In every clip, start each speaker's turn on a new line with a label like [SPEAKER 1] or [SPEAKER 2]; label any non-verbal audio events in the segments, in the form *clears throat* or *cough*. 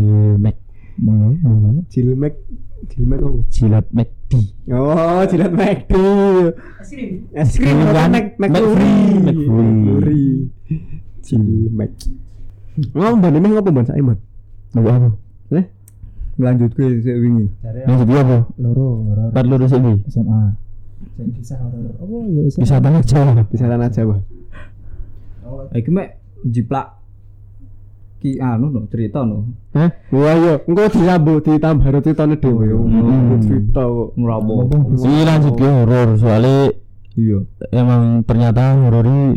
[SPEAKER 1] Cilmek.
[SPEAKER 2] Cilmek, Cilmek oh.
[SPEAKER 1] Jilat McD.
[SPEAKER 2] Oh, Cilat McD.
[SPEAKER 3] Es krim.
[SPEAKER 2] Es krim
[SPEAKER 1] Krim
[SPEAKER 2] apa
[SPEAKER 1] kan?
[SPEAKER 2] Mac
[SPEAKER 1] McFlurry. McFlurry.
[SPEAKER 2] McFlurry. Cilmek. Ngomong ban ini ngopo ban Saiman?
[SPEAKER 1] Apa apa?
[SPEAKER 2] Eh? Lanjut gue sik wingi.
[SPEAKER 3] Dari
[SPEAKER 1] Yang kedua apa?
[SPEAKER 3] loro horor
[SPEAKER 1] Empat lurus ini.
[SPEAKER 3] SMA. Sing kisah horor. Oh ya SMA.
[SPEAKER 1] Bisa banget Jawa.
[SPEAKER 2] Di sana aja, Pak.
[SPEAKER 3] Oh,
[SPEAKER 4] Eh, Iki mek jiplak ki anu no cerita no.
[SPEAKER 1] Hah?
[SPEAKER 2] Wah yo, engko disambu ditambah roti tone dhewe.
[SPEAKER 4] Oh, iya.
[SPEAKER 1] Hmm.
[SPEAKER 2] Cerita kok.
[SPEAKER 4] Ngrawo.
[SPEAKER 1] Ini lanjut ke horor soalnya
[SPEAKER 4] Iya.
[SPEAKER 1] emang ternyata horor ini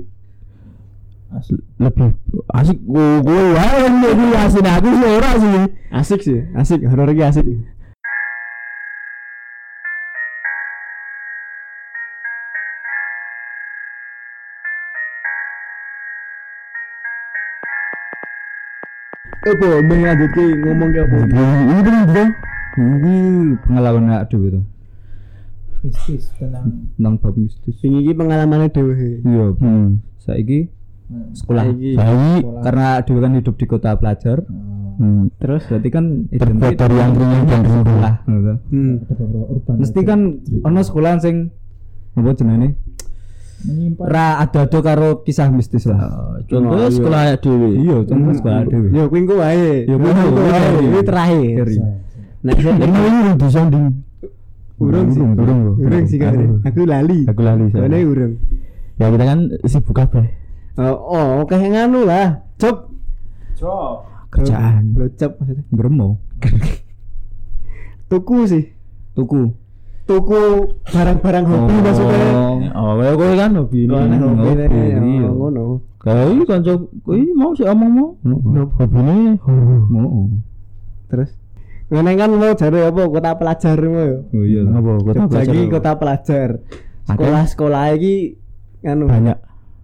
[SPEAKER 3] asli.
[SPEAKER 1] lebih asik gue gue wah lebih asik aku sih orang sih
[SPEAKER 2] Asik sih, asik horor iki asik. Apa meh lanjut ke ngomong ke apa?
[SPEAKER 1] ini kan bro
[SPEAKER 4] Iki pengalaman awak dhewe to.
[SPEAKER 3] Mistis tentang
[SPEAKER 4] Nang bab mistis.
[SPEAKER 2] Sing iki pengalamane dhewe.
[SPEAKER 4] Iya.
[SPEAKER 1] hmm
[SPEAKER 4] Saiki sekolah.
[SPEAKER 2] Saiki.
[SPEAKER 1] Saiki,
[SPEAKER 3] Sekolah.
[SPEAKER 4] Karena dulu kan hidup di kota pelajar.
[SPEAKER 3] Eh,
[SPEAKER 1] hmm,
[SPEAKER 4] Terus berarti kan
[SPEAKER 1] terbuat dari yang ringan dan rindu
[SPEAKER 4] sekolah ngono to.
[SPEAKER 2] Hmm.
[SPEAKER 3] ada beberapa urban.
[SPEAKER 4] Mesti kan ono sekolah sing apa jenenge?
[SPEAKER 3] menyimpan
[SPEAKER 4] Ra ada-ada karo kisah mistis lah.
[SPEAKER 1] contoh
[SPEAKER 2] iya.
[SPEAKER 1] sekolah Hmm. dewi
[SPEAKER 4] Iya, contoh sekolah dhewe.
[SPEAKER 2] Yo kuwi engko wae.
[SPEAKER 4] Ya, kuwi engko wae.
[SPEAKER 2] Ini terakhir.
[SPEAKER 4] Terakhir.
[SPEAKER 2] Nek
[SPEAKER 4] Iya,
[SPEAKER 2] saya
[SPEAKER 1] ini ini di sounding
[SPEAKER 4] Nah,
[SPEAKER 2] urung sih.
[SPEAKER 1] Urung, urung, urung.
[SPEAKER 2] Urung sih kan.
[SPEAKER 1] Urung.
[SPEAKER 2] Aku lali.
[SPEAKER 1] aku lali
[SPEAKER 4] Iya,
[SPEAKER 2] Soalnya
[SPEAKER 1] soalnya.
[SPEAKER 2] urung.
[SPEAKER 1] ya kita kan sibuk apa
[SPEAKER 2] Oh, oh, kayak nganu lah. Cep.
[SPEAKER 3] drop.
[SPEAKER 1] Kerjaan.
[SPEAKER 2] Blocep maksudnya.
[SPEAKER 4] Gremo.
[SPEAKER 2] Tuku sih.
[SPEAKER 4] Tuku.
[SPEAKER 2] Tuku barang-barang hobi maksudnya.
[SPEAKER 1] oh kayak gue kan hobi ini
[SPEAKER 2] Kalau ada hobi
[SPEAKER 1] hobi
[SPEAKER 2] nih,
[SPEAKER 1] iya.
[SPEAKER 2] oh, ngono.
[SPEAKER 1] kayak ini kan ini mau sih omong mau hobi ini horor
[SPEAKER 4] Heeh.
[SPEAKER 2] Terus Ngene kan mau jare apa kota pelajar mau ya.
[SPEAKER 4] Oh iya.
[SPEAKER 1] apa kota
[SPEAKER 2] Jogja
[SPEAKER 1] pelajar
[SPEAKER 2] iki
[SPEAKER 1] apa?
[SPEAKER 2] kota pelajar. Sekolah-sekolah iki anu
[SPEAKER 1] banyak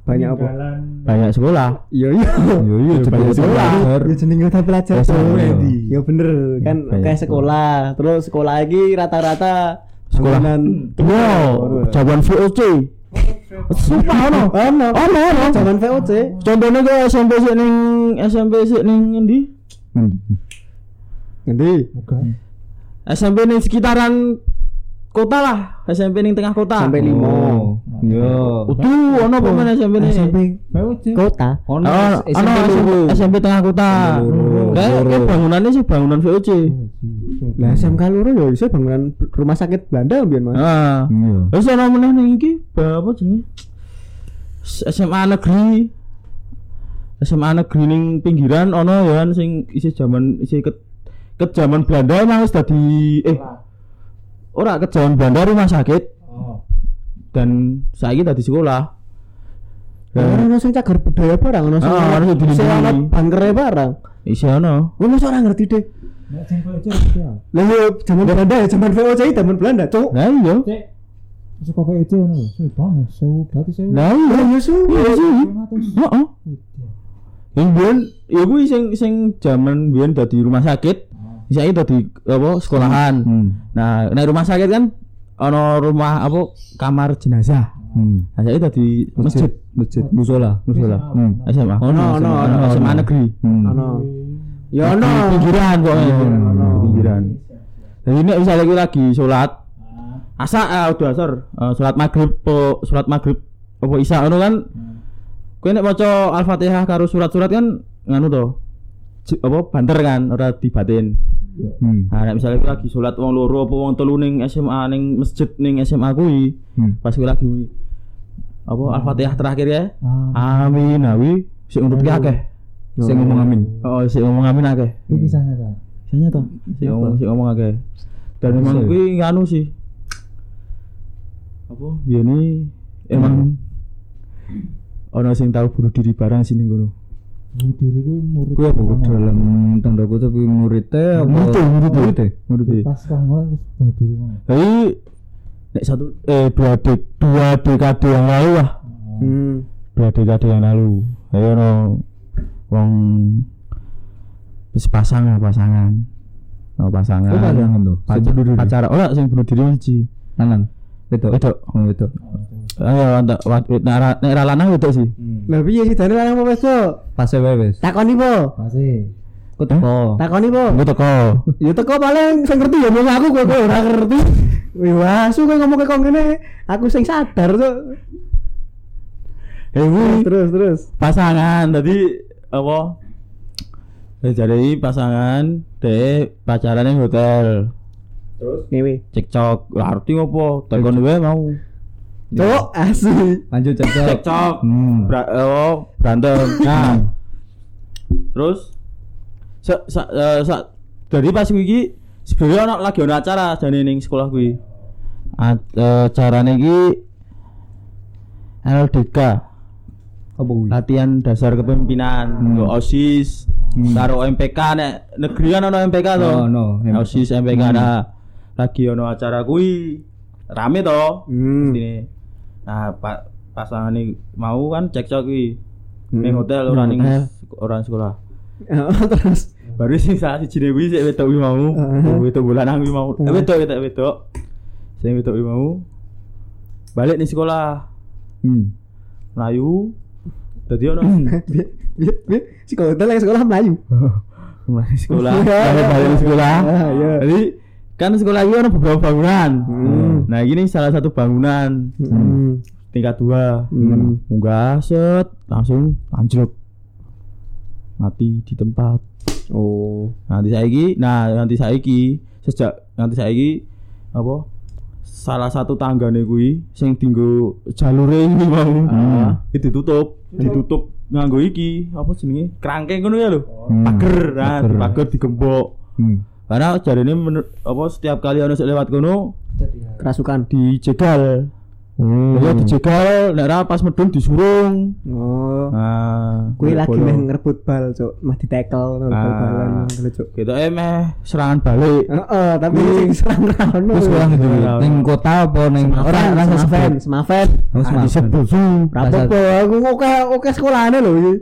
[SPEAKER 2] banyak apa?
[SPEAKER 3] Jalan
[SPEAKER 1] banyak sekolah Iya,
[SPEAKER 2] Yo yo.
[SPEAKER 1] yo yo
[SPEAKER 2] banyak sekolah. Ya
[SPEAKER 4] Iya.
[SPEAKER 2] jeneng kota pelajar
[SPEAKER 1] Dasar,
[SPEAKER 2] tuh,
[SPEAKER 1] iya.
[SPEAKER 2] Edi. Ya bener kan
[SPEAKER 1] banyak
[SPEAKER 2] kayak sekolah. Terus sekolah iki rata-rata
[SPEAKER 1] Sekolah. wow jawaban VOC sumpah ono
[SPEAKER 2] Ono.
[SPEAKER 1] ono ono
[SPEAKER 2] Zaman VOC.
[SPEAKER 1] contohnya ke SMP sih neng SMP sih neng ngendi
[SPEAKER 2] Ngendi?
[SPEAKER 3] muka.
[SPEAKER 1] SMP neng sekitaran kota lah SMP neng tengah kota
[SPEAKER 2] Sampai lima.
[SPEAKER 4] Iya.
[SPEAKER 1] itu ono pemain SMP neng
[SPEAKER 2] SMP
[SPEAKER 3] POC.
[SPEAKER 2] kota.
[SPEAKER 4] Ono
[SPEAKER 1] Oh, ono
[SPEAKER 4] loro.
[SPEAKER 1] SMP SMP tengah kota. Hmm.
[SPEAKER 4] Loro. Hmm.
[SPEAKER 1] Kayak kayak bangunannya sih bangunan VOC.
[SPEAKER 2] Lah SMK loro ya iso bangunan rumah sakit Belanda mbiyen Mas.
[SPEAKER 1] Heeh.
[SPEAKER 4] Iya.
[SPEAKER 1] Ah. Wis ana meneh ning iki ba- apa jenenge? S- SMA negeri. SMA negeri ning pinggiran ana ya kan sing isih jaman isih ket ket jaman Belanda emang wis dadi eh ora ket jaman Belanda rumah sakit
[SPEAKER 3] Oh.
[SPEAKER 1] dan saiki dadi sekolah.
[SPEAKER 2] Ora ono sing cagar Oh, budaya barang ono sing
[SPEAKER 1] Ah, ono sing dilindungi.
[SPEAKER 2] sing ono bangkere barang.
[SPEAKER 1] Isih ana.
[SPEAKER 2] Ngono ora ngerti deh.
[SPEAKER 3] Nek sing POC iki ya.
[SPEAKER 2] Lah yo zaman Belanda ya zaman VOC zaman Belanda, Cuk.
[SPEAKER 1] Lah iya.
[SPEAKER 3] Cek. Suka POC ngono. Sewu banget, sewu berarti sewu.
[SPEAKER 1] Lah iya.
[SPEAKER 2] Lah yo su.
[SPEAKER 1] Iya sih.
[SPEAKER 3] 500.
[SPEAKER 1] Heeh. Yang biyen ya kuwi sing sing jaman biyen dadi rumah sakit. Saiki dadi apa sekolahan.
[SPEAKER 2] Hmm.
[SPEAKER 4] Hmm.
[SPEAKER 1] Nah, nek rumah sakit kan ana rumah apa kamar jenazah.
[SPEAKER 4] Hmm.
[SPEAKER 1] Nah, saiki dadi masjid,
[SPEAKER 4] Masjid musola.
[SPEAKER 1] musola.
[SPEAKER 3] Hmm.
[SPEAKER 1] SMA.
[SPEAKER 2] Ono, ono, ono,
[SPEAKER 1] SMA
[SPEAKER 2] ono.
[SPEAKER 1] negeri.
[SPEAKER 4] Hmm.
[SPEAKER 2] Ono. Yo
[SPEAKER 1] Ono
[SPEAKER 2] ono.
[SPEAKER 1] pinggiran
[SPEAKER 4] Iya.
[SPEAKER 1] pokoknya.
[SPEAKER 2] ono.
[SPEAKER 1] Pinggiran. Jadi nek misalnya kita lagi sholat
[SPEAKER 3] Ah.
[SPEAKER 1] asa eh, udah asar, eh, sholat maghrib, po, sholat maghrib, apa isya ono kan? Kowe nek maca Al-Fatihah karo surat-surat kan nganu to. J- apa banter kan ora dibatin.
[SPEAKER 4] Hmm.
[SPEAKER 1] Nah, nek misalnya kowe lagi sholat wong loro apa wong telu ning SMA ning masjid ning SMA kuwi,
[SPEAKER 4] Hmm.
[SPEAKER 1] pas kowe lagi kuwi apa Al-Fatihah terakhir ya.
[SPEAKER 3] Ah.
[SPEAKER 4] Hmm.
[SPEAKER 1] Amin awi sik urut ki akeh.
[SPEAKER 4] Saya ngomong amin.
[SPEAKER 1] Oh, sik ngomong amin akeh.
[SPEAKER 3] Itu kisahnya ta.
[SPEAKER 1] Saya nyata. Sik ngomong sik ngomong akeh. Dan
[SPEAKER 4] Bisa
[SPEAKER 1] memang
[SPEAKER 4] ya?
[SPEAKER 1] kuwi nganu sih. Apa biyen emang ono sing tau bunuh diri barang sini ngono.
[SPEAKER 3] Bu diri kuwi murid.
[SPEAKER 4] Kuwi apa Nah,
[SPEAKER 3] pertama.
[SPEAKER 4] dalam tanda kutip kuwi murite apa?
[SPEAKER 1] Murid, murid.
[SPEAKER 4] Murite.
[SPEAKER 1] Menurut e.
[SPEAKER 3] Pas kang ngono terus bu diri ngono.
[SPEAKER 1] Jadi nek satu eh dua dek dua dekade yang lalu lah,
[SPEAKER 2] Hmm.
[SPEAKER 1] dua dekade yang lalu. Ayo no wong wis pasangan pasangan. Oh pasangan.
[SPEAKER 4] Oh, pasangan tuh? Sing
[SPEAKER 1] Pacar,
[SPEAKER 4] bunuh diri?
[SPEAKER 1] pacara ora sing bunuh diri siji.
[SPEAKER 4] Lanang. Wedok.
[SPEAKER 1] Wedok.
[SPEAKER 4] Oh, wedok.
[SPEAKER 1] Ayo antuk wet nek ra- nek ra lanang wedok sih.
[SPEAKER 2] Lah piye sih dane lanang apa wes, Cuk?
[SPEAKER 4] Pas wae wis.
[SPEAKER 2] Takoni po.
[SPEAKER 3] Pasti.
[SPEAKER 1] Kok ya, teko?
[SPEAKER 2] Takoni po.
[SPEAKER 1] Kok teko?
[SPEAKER 2] Ya teko paling sing ngerti ya mung aku kowe kowe ora ngerti. Wah, asu kowe ngomong kok ngene, aku sing sadar tuh.
[SPEAKER 1] Eh, wih.
[SPEAKER 2] Terus terus.
[SPEAKER 1] pasangan tadi apa jadi pasangan deh pacaran yang hotel
[SPEAKER 2] Ngewe.
[SPEAKER 1] cekcok lah arti apa telepon gue mau
[SPEAKER 2] Cok asu.
[SPEAKER 4] Lanjut cek.
[SPEAKER 1] cekcok
[SPEAKER 4] Hmm.
[SPEAKER 1] Bra- oh, *laughs* berantem nah terus sa, sa, eh, sa- dari pas gue sebenarnya ono lagi ono acara jadi ning sekolah gue acara ini LDK
[SPEAKER 4] Apa kuwi?
[SPEAKER 1] latihan dasar kepemimpinan nggo Hmm. osis taruh MPK nek negeri kan ono MPK to
[SPEAKER 4] Hmm. Oh, no, MPK.
[SPEAKER 1] osis MPK
[SPEAKER 4] Hmm.
[SPEAKER 1] nah lagi ono acara kui rame to
[SPEAKER 2] Hmm.
[SPEAKER 1] Sini. nah pa pasangan ini mau kan cekcok kui
[SPEAKER 2] Hmm.
[SPEAKER 1] ning hotel
[SPEAKER 2] Ning
[SPEAKER 1] orang ning
[SPEAKER 2] hotel.
[SPEAKER 1] orang sekolah
[SPEAKER 2] Oh, terus.
[SPEAKER 1] baru sing salah si jine kui sik wedok kui mau
[SPEAKER 2] Heeh.
[SPEAKER 1] wedok bulanan kui mau eh, wedok wedok wedok sing wedok kui mau balik nih sekolah
[SPEAKER 4] Hmm.
[SPEAKER 1] Melayu Jadi
[SPEAKER 2] *clears throat*
[SPEAKER 1] ono
[SPEAKER 2] Bi- bi- bi- Si hotel yang sekolah Melayu.
[SPEAKER 1] mulai sekolah
[SPEAKER 2] Iya,
[SPEAKER 1] balik
[SPEAKER 2] iya,
[SPEAKER 1] balik
[SPEAKER 2] iya.
[SPEAKER 1] sekolah
[SPEAKER 2] Iya, iya.
[SPEAKER 1] jadi kan sekolah itu ada beberapa bangunan
[SPEAKER 2] Hmm.
[SPEAKER 1] nah ini salah satu bangunan
[SPEAKER 2] Hmm.
[SPEAKER 1] tingkat dua
[SPEAKER 2] Hmm.
[SPEAKER 1] munggah set langsung anjlok mati di tempat
[SPEAKER 2] Oh.
[SPEAKER 1] nanti saiki nah nanti saiki sejak nanti saiki apa salah satu tanggane kuwi sing dinggo jalure ini mau
[SPEAKER 4] Hmm.
[SPEAKER 1] itu ditutup ditutup nganggo iki apa jenenge kerangkeng ngono ya lho pager nah
[SPEAKER 4] Oh. Hmm.
[SPEAKER 1] pager
[SPEAKER 4] Pager.
[SPEAKER 1] digembok
[SPEAKER 4] Hmm.
[SPEAKER 1] karena jarene menur- apa setiap kali ono sing lewat kono
[SPEAKER 2] Kerasukan.
[SPEAKER 1] dijegal
[SPEAKER 4] Hmm.
[SPEAKER 2] Oh.
[SPEAKER 1] ya
[SPEAKER 4] Iya,
[SPEAKER 1] dijegal nek ra pas medun disurung
[SPEAKER 2] Oh.
[SPEAKER 1] nah
[SPEAKER 2] Kuwi lagi
[SPEAKER 1] bolong.
[SPEAKER 2] meh ngerebut bal, Cuk. Mah ditekel ngono
[SPEAKER 1] Ah.
[SPEAKER 2] bal-balan ngono, Cuk.
[SPEAKER 1] gitu eh meh serangan balik
[SPEAKER 2] Heeh, tapi
[SPEAKER 1] Kuwi-
[SPEAKER 2] sing serang ra ono.
[SPEAKER 4] Terus kurang
[SPEAKER 1] Iya,
[SPEAKER 4] itu.
[SPEAKER 1] iya,
[SPEAKER 4] Ning
[SPEAKER 1] iya.
[SPEAKER 4] gitu. kota apa ning
[SPEAKER 2] Ora
[SPEAKER 4] orang
[SPEAKER 2] langsung semafen, semafen.
[SPEAKER 4] Harus
[SPEAKER 1] Ah,
[SPEAKER 4] makan.
[SPEAKER 1] disebut su.
[SPEAKER 4] Dasar-
[SPEAKER 2] Apa aku oke oke sekolahane lho iki.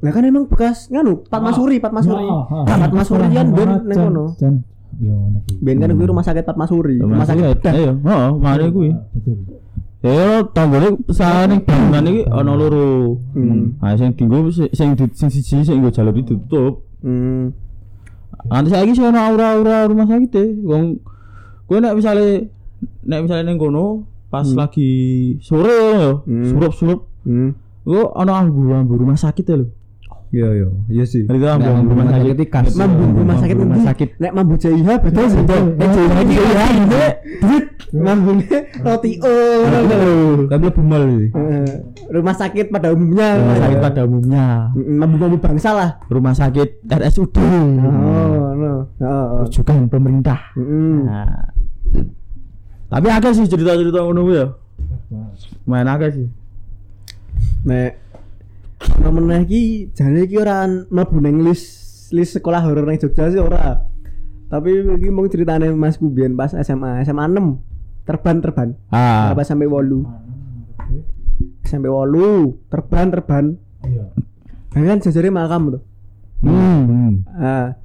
[SPEAKER 2] Lah kan emang bekas nganu, Pat Masuri, Pat Masuri.
[SPEAKER 3] ah,
[SPEAKER 2] Pat Masuri kan ben nang kono.
[SPEAKER 3] Ya ngono kuwi.
[SPEAKER 2] Ben kan kuwi rumah sakit Pat Masuri, rumah sakit
[SPEAKER 1] hotel ya heeh mari kuwi
[SPEAKER 3] Betul.
[SPEAKER 1] ya tanggane pesane bangunan iki ana loro
[SPEAKER 2] Hmm.
[SPEAKER 1] ah sing dinggo si- sing di- sing siji sing nggo jalur iki ditutup
[SPEAKER 2] Hmm.
[SPEAKER 1] Nanti saiki sih ono aura-aura rumah sakit e. Wong kowe nek misale nek misale ning kono pas
[SPEAKER 4] Hmm.
[SPEAKER 1] lagi sore ya,
[SPEAKER 2] Hmm.
[SPEAKER 1] surup-surup
[SPEAKER 2] Hmm.
[SPEAKER 1] Gue ono ambu-ambu rumah sakit ya lho.
[SPEAKER 4] Iya iya, iya sih.
[SPEAKER 1] Itu
[SPEAKER 4] Nek
[SPEAKER 1] ambu
[SPEAKER 4] rumah sakit iki khas.
[SPEAKER 2] Mambu rumah sakit
[SPEAKER 1] rumah
[SPEAKER 2] nanti.
[SPEAKER 1] sakit.
[SPEAKER 2] Nek mambu JIH beda
[SPEAKER 1] Eh,
[SPEAKER 2] sih. Cuk. Nek JIH iki kaya gini, duit. Mambune roti O. ngono lho.
[SPEAKER 1] Kan lebih mal ini.
[SPEAKER 2] Heeh. Rumah sakit pada umumnya.
[SPEAKER 1] Rumah sakit
[SPEAKER 4] Iya.
[SPEAKER 1] pada umumnya,
[SPEAKER 2] Mm, mambu-mambu bangsa lah.
[SPEAKER 1] rumah sakit RSUD.
[SPEAKER 2] Oh, Hmm. no. Heeh.
[SPEAKER 1] Rujukan pemerintah.
[SPEAKER 2] Heeh.
[SPEAKER 1] Nah. Tapi akeh sih cerita-cerita ngono kuwi ya. Main akeh sih.
[SPEAKER 2] Nek ana meneh iki jane iki ora mlebu ning list list sekolah horor ning Jogja sih ora. Tapi iki mung ceritane Mas Kubian pas SMA, SMA 6. Terban terban.
[SPEAKER 1] Ah.
[SPEAKER 2] Apa sampai 8. Sampai 8, terban terban.
[SPEAKER 3] Iya.
[SPEAKER 2] Kan jajare makam tuh.
[SPEAKER 1] Hmm.
[SPEAKER 2] Ah.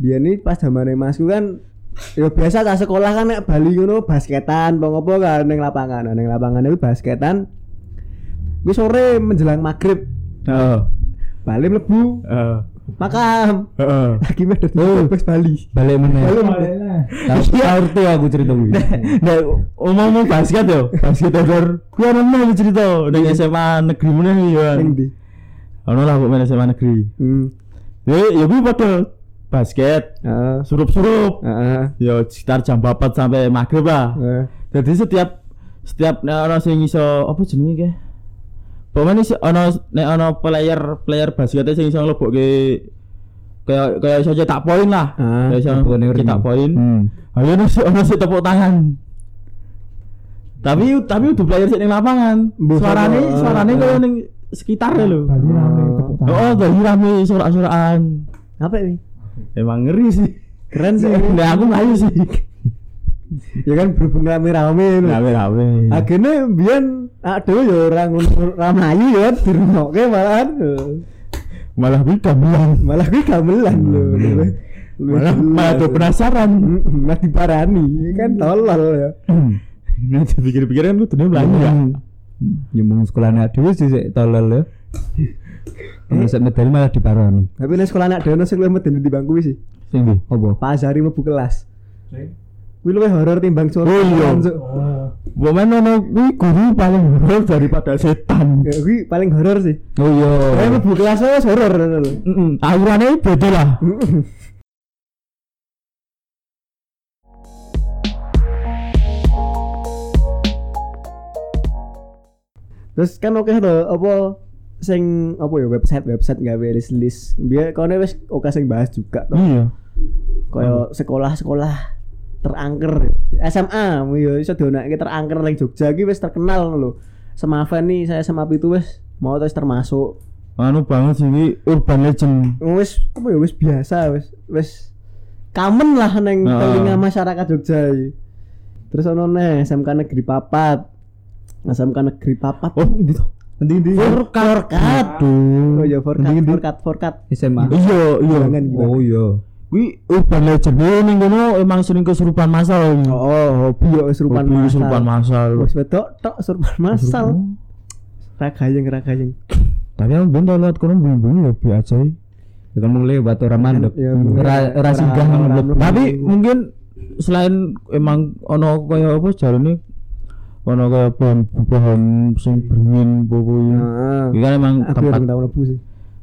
[SPEAKER 2] Biyen iki pas zamane Masku kan ya biasa tak sekolah kan nek Bali ngono basketan apa ngopo kan ning lapangan. Nah, Ning lapangan itu basketan. Wis sore menjelang maghrib
[SPEAKER 1] Heeh.
[SPEAKER 2] Bali mlebu
[SPEAKER 1] Heeh.
[SPEAKER 2] makam.
[SPEAKER 1] Heeh.
[SPEAKER 2] Lagi ada di Brebes Bali.
[SPEAKER 1] Balik meneh. Iya.
[SPEAKER 2] Bali
[SPEAKER 3] Balik lah.
[SPEAKER 4] Tahu tahu tuh aku cerita kuwi.
[SPEAKER 1] Nah, ngomong-ngomong basket yo, basket horor. Kuwi ana meneh cerita ning SMA negeri meneh yo.
[SPEAKER 2] ning ndi?
[SPEAKER 1] Ono lah kok main SMA negeri.
[SPEAKER 2] Hmm.
[SPEAKER 1] Ya ya kuwi padha basket,
[SPEAKER 2] Heeh.
[SPEAKER 1] surup-surup.
[SPEAKER 2] Heeh.
[SPEAKER 1] Ya sekitar jam 4 sampai maghrib lah.
[SPEAKER 2] Heeh.
[SPEAKER 1] Jadi setiap setiap nek ono sing iso apa jenenge ke? Pemain iso ono nek ono player player basket sing iso nglebokke kayak kayak iso cetak poin lah.
[SPEAKER 2] Ah,
[SPEAKER 1] Kayak iso
[SPEAKER 4] poin ori.
[SPEAKER 1] cetak poin.
[SPEAKER 4] Hmm.
[SPEAKER 1] Ayo nasi ono sing tepuk tangan. Tapi tapi udah player sik ning lapangan.
[SPEAKER 2] Mbah,
[SPEAKER 1] Suarane
[SPEAKER 2] sama.
[SPEAKER 1] suarane kaya ning sekitar e lho.
[SPEAKER 3] Bali rame tepuk tangan.
[SPEAKER 1] Oh, dari rame sorak-sorakan.
[SPEAKER 2] Apa ini?
[SPEAKER 1] Emang ngeri sih.
[SPEAKER 2] Keren *laughs* sih.
[SPEAKER 1] Nah, aku melayu sih.
[SPEAKER 2] ya kan berhubung
[SPEAKER 4] Nah,
[SPEAKER 2] rame-rame lho.
[SPEAKER 1] Rame-rame.
[SPEAKER 2] Akhirnya biyen aduh ya ora ngono ora Melayu ya dirungokke malahan.
[SPEAKER 1] Malah gue gamelan.
[SPEAKER 2] Malah kuwi gamelan lho.
[SPEAKER 1] Malah
[SPEAKER 4] *laughs*
[SPEAKER 1] malah tuh penasaran.
[SPEAKER 2] Nah diparani kan tolol ya.
[SPEAKER 4] Hmm.
[SPEAKER 1] Nah, jadi pikir-pikir kan gue dunia melayu ya.
[SPEAKER 4] Ya mung sekolahane dhewe sih sik tolol ya.
[SPEAKER 1] Eh.
[SPEAKER 4] Masa medali malah diparoni.
[SPEAKER 2] Tapi nek sekolah anak dhewe sing luwih medeni di bangku kuwi sih.
[SPEAKER 1] Sing ndi?
[SPEAKER 4] Apa?
[SPEAKER 2] Pak Azhari mlebu kelas.
[SPEAKER 3] Sing?
[SPEAKER 2] Kuwi luwih horor timbang suara.
[SPEAKER 1] Oh, iya.
[SPEAKER 2] Cuk.
[SPEAKER 3] Oh,
[SPEAKER 1] Mbok men ono kuwi guru paling horor daripada setan.
[SPEAKER 2] Ya, Kuwi paling horor sih.
[SPEAKER 1] Oh iya.
[SPEAKER 2] Kayak mlebu kelas wis horor.
[SPEAKER 1] Heeh. Aurane beda lah.
[SPEAKER 2] Terus kan oke to apa sing apa ya website website gawe list list. Biar kau wis oke sing bahas juga to.
[SPEAKER 1] Iya.
[SPEAKER 2] Kayak sekolah-sekolah terangker SMA ya iso dionakke terangker ning Jogja iki wis terkenal lho. Semaven nih saya sama itu wis mau terus termasuk
[SPEAKER 1] Anu banget sih ini urban legend.
[SPEAKER 2] wis apa ya wis biasa wis wis kamen lah neng
[SPEAKER 1] Heeh.
[SPEAKER 2] telinga masyarakat Jogja iki. terus ono neh SMK negeri papat SMK negeri papat
[SPEAKER 1] Oh, ini tuh. Nanti ini.
[SPEAKER 2] forkat
[SPEAKER 1] Aduh.
[SPEAKER 2] oh ya forkat
[SPEAKER 1] Ndi, ndi.
[SPEAKER 2] forkat forkat
[SPEAKER 4] SMA.
[SPEAKER 1] Iya, iya.
[SPEAKER 2] Jangan, gimana?
[SPEAKER 4] Oh iya.
[SPEAKER 1] Kuwi urban legend ini ning kono emang sering kesurupan massal. ini.
[SPEAKER 2] oh hobi yo serupan
[SPEAKER 1] Hobi
[SPEAKER 2] masal
[SPEAKER 1] Kesurupan massal.
[SPEAKER 2] wis wedok tok serupan masal ragayeng ragayeng
[SPEAKER 1] Tapi aku ben tau lihat kono bunyi-bunyi ya biasa aja.
[SPEAKER 4] Ya kan mulai batu orang mandek.
[SPEAKER 1] Iya,
[SPEAKER 2] Ya,
[SPEAKER 4] Ra-
[SPEAKER 2] mulai-
[SPEAKER 4] ra singgah
[SPEAKER 2] ra- ra-
[SPEAKER 4] mandek.
[SPEAKER 2] ra-
[SPEAKER 1] Tapi mungkin selain emang ono kaya apa jarane ono kaya pohon-pohon sing beringin bobo ini.
[SPEAKER 2] heeh
[SPEAKER 1] Iki kan emang
[SPEAKER 2] Ah. aku
[SPEAKER 1] tempat
[SPEAKER 2] orang tau lebu sih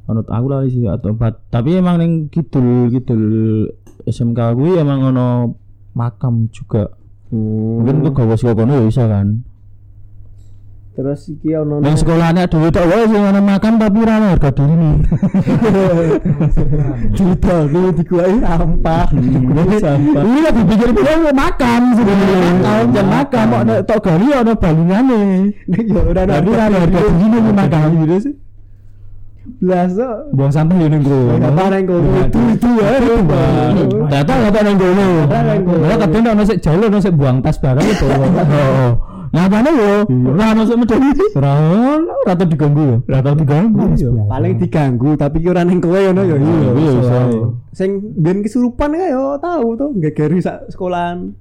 [SPEAKER 1] menurut aku lah sih atau tempat tapi emang neng kidul kidul SMK gue emang ono makam juga
[SPEAKER 2] Oh.
[SPEAKER 1] mungkin ke gawe sekolah kono ya bisa kan
[SPEAKER 2] terus iki ono *laughs*
[SPEAKER 1] neng sekolahnya dulu tak wae sing ono makam tapi ra ono harga diri *laughs* nih
[SPEAKER 2] cerita lu dikuai sampah
[SPEAKER 1] *laughs* Ini- ini lagi pikir pikir mau makam sebenarnya Kan makam jangan makam mau nek tok gali ono balungane
[SPEAKER 2] nek yo Ya, ora
[SPEAKER 1] tapi ra ono harga diri nih makam gitu sih
[SPEAKER 2] blas kok.
[SPEAKER 1] buang sampah ya neng
[SPEAKER 4] Iya,
[SPEAKER 1] kono.
[SPEAKER 2] Apa neng kono?
[SPEAKER 1] itu itu ya
[SPEAKER 2] Pak.
[SPEAKER 1] data data neng kono
[SPEAKER 2] Data neng kono.
[SPEAKER 1] Malah kadang nek ono sik jalo ono sik buang tas barang itu oh ngapane yo ora ono sik medeni Iya. ora ono ora tau diganggu Iya. yo ora tau diganggu yo
[SPEAKER 2] paling diganggu tapi ki ora neng kowe ngono ya
[SPEAKER 1] iya iya iso
[SPEAKER 2] sing ben kesurupan kae oh, yo tahu to gegeri sak sekolahan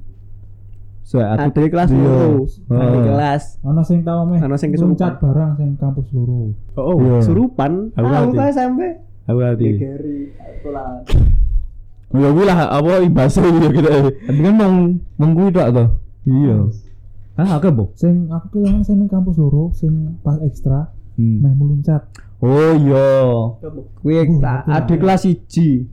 [SPEAKER 4] Saya
[SPEAKER 2] ada kelas
[SPEAKER 1] iya. Oh.
[SPEAKER 2] loro ada
[SPEAKER 1] Heeh.
[SPEAKER 2] kelas
[SPEAKER 3] ono sing tau meh.
[SPEAKER 2] Ono sing
[SPEAKER 3] Muncat
[SPEAKER 2] kesurupan.
[SPEAKER 3] barang sing kampus loro.
[SPEAKER 1] oh
[SPEAKER 4] Iya.
[SPEAKER 2] surupan
[SPEAKER 1] Aku
[SPEAKER 2] tahu
[SPEAKER 1] ngerti.
[SPEAKER 2] ta SMP
[SPEAKER 1] aku hati
[SPEAKER 2] gegeri sekolahan
[SPEAKER 1] ya kuwi lah apa imbasnya ya kita
[SPEAKER 4] tapi kan mau mengkuit tak tuh.
[SPEAKER 1] iya
[SPEAKER 4] Ah, oke, Bu.
[SPEAKER 3] Sing aku kehilangan sing ning kampus loro, sing pas ekstra
[SPEAKER 4] Hmm.
[SPEAKER 3] meh meluncat.
[SPEAKER 1] oh iya
[SPEAKER 4] Kuwi
[SPEAKER 3] Uh,
[SPEAKER 4] ta-
[SPEAKER 3] aku
[SPEAKER 4] ada
[SPEAKER 3] lah.
[SPEAKER 4] kelas 1.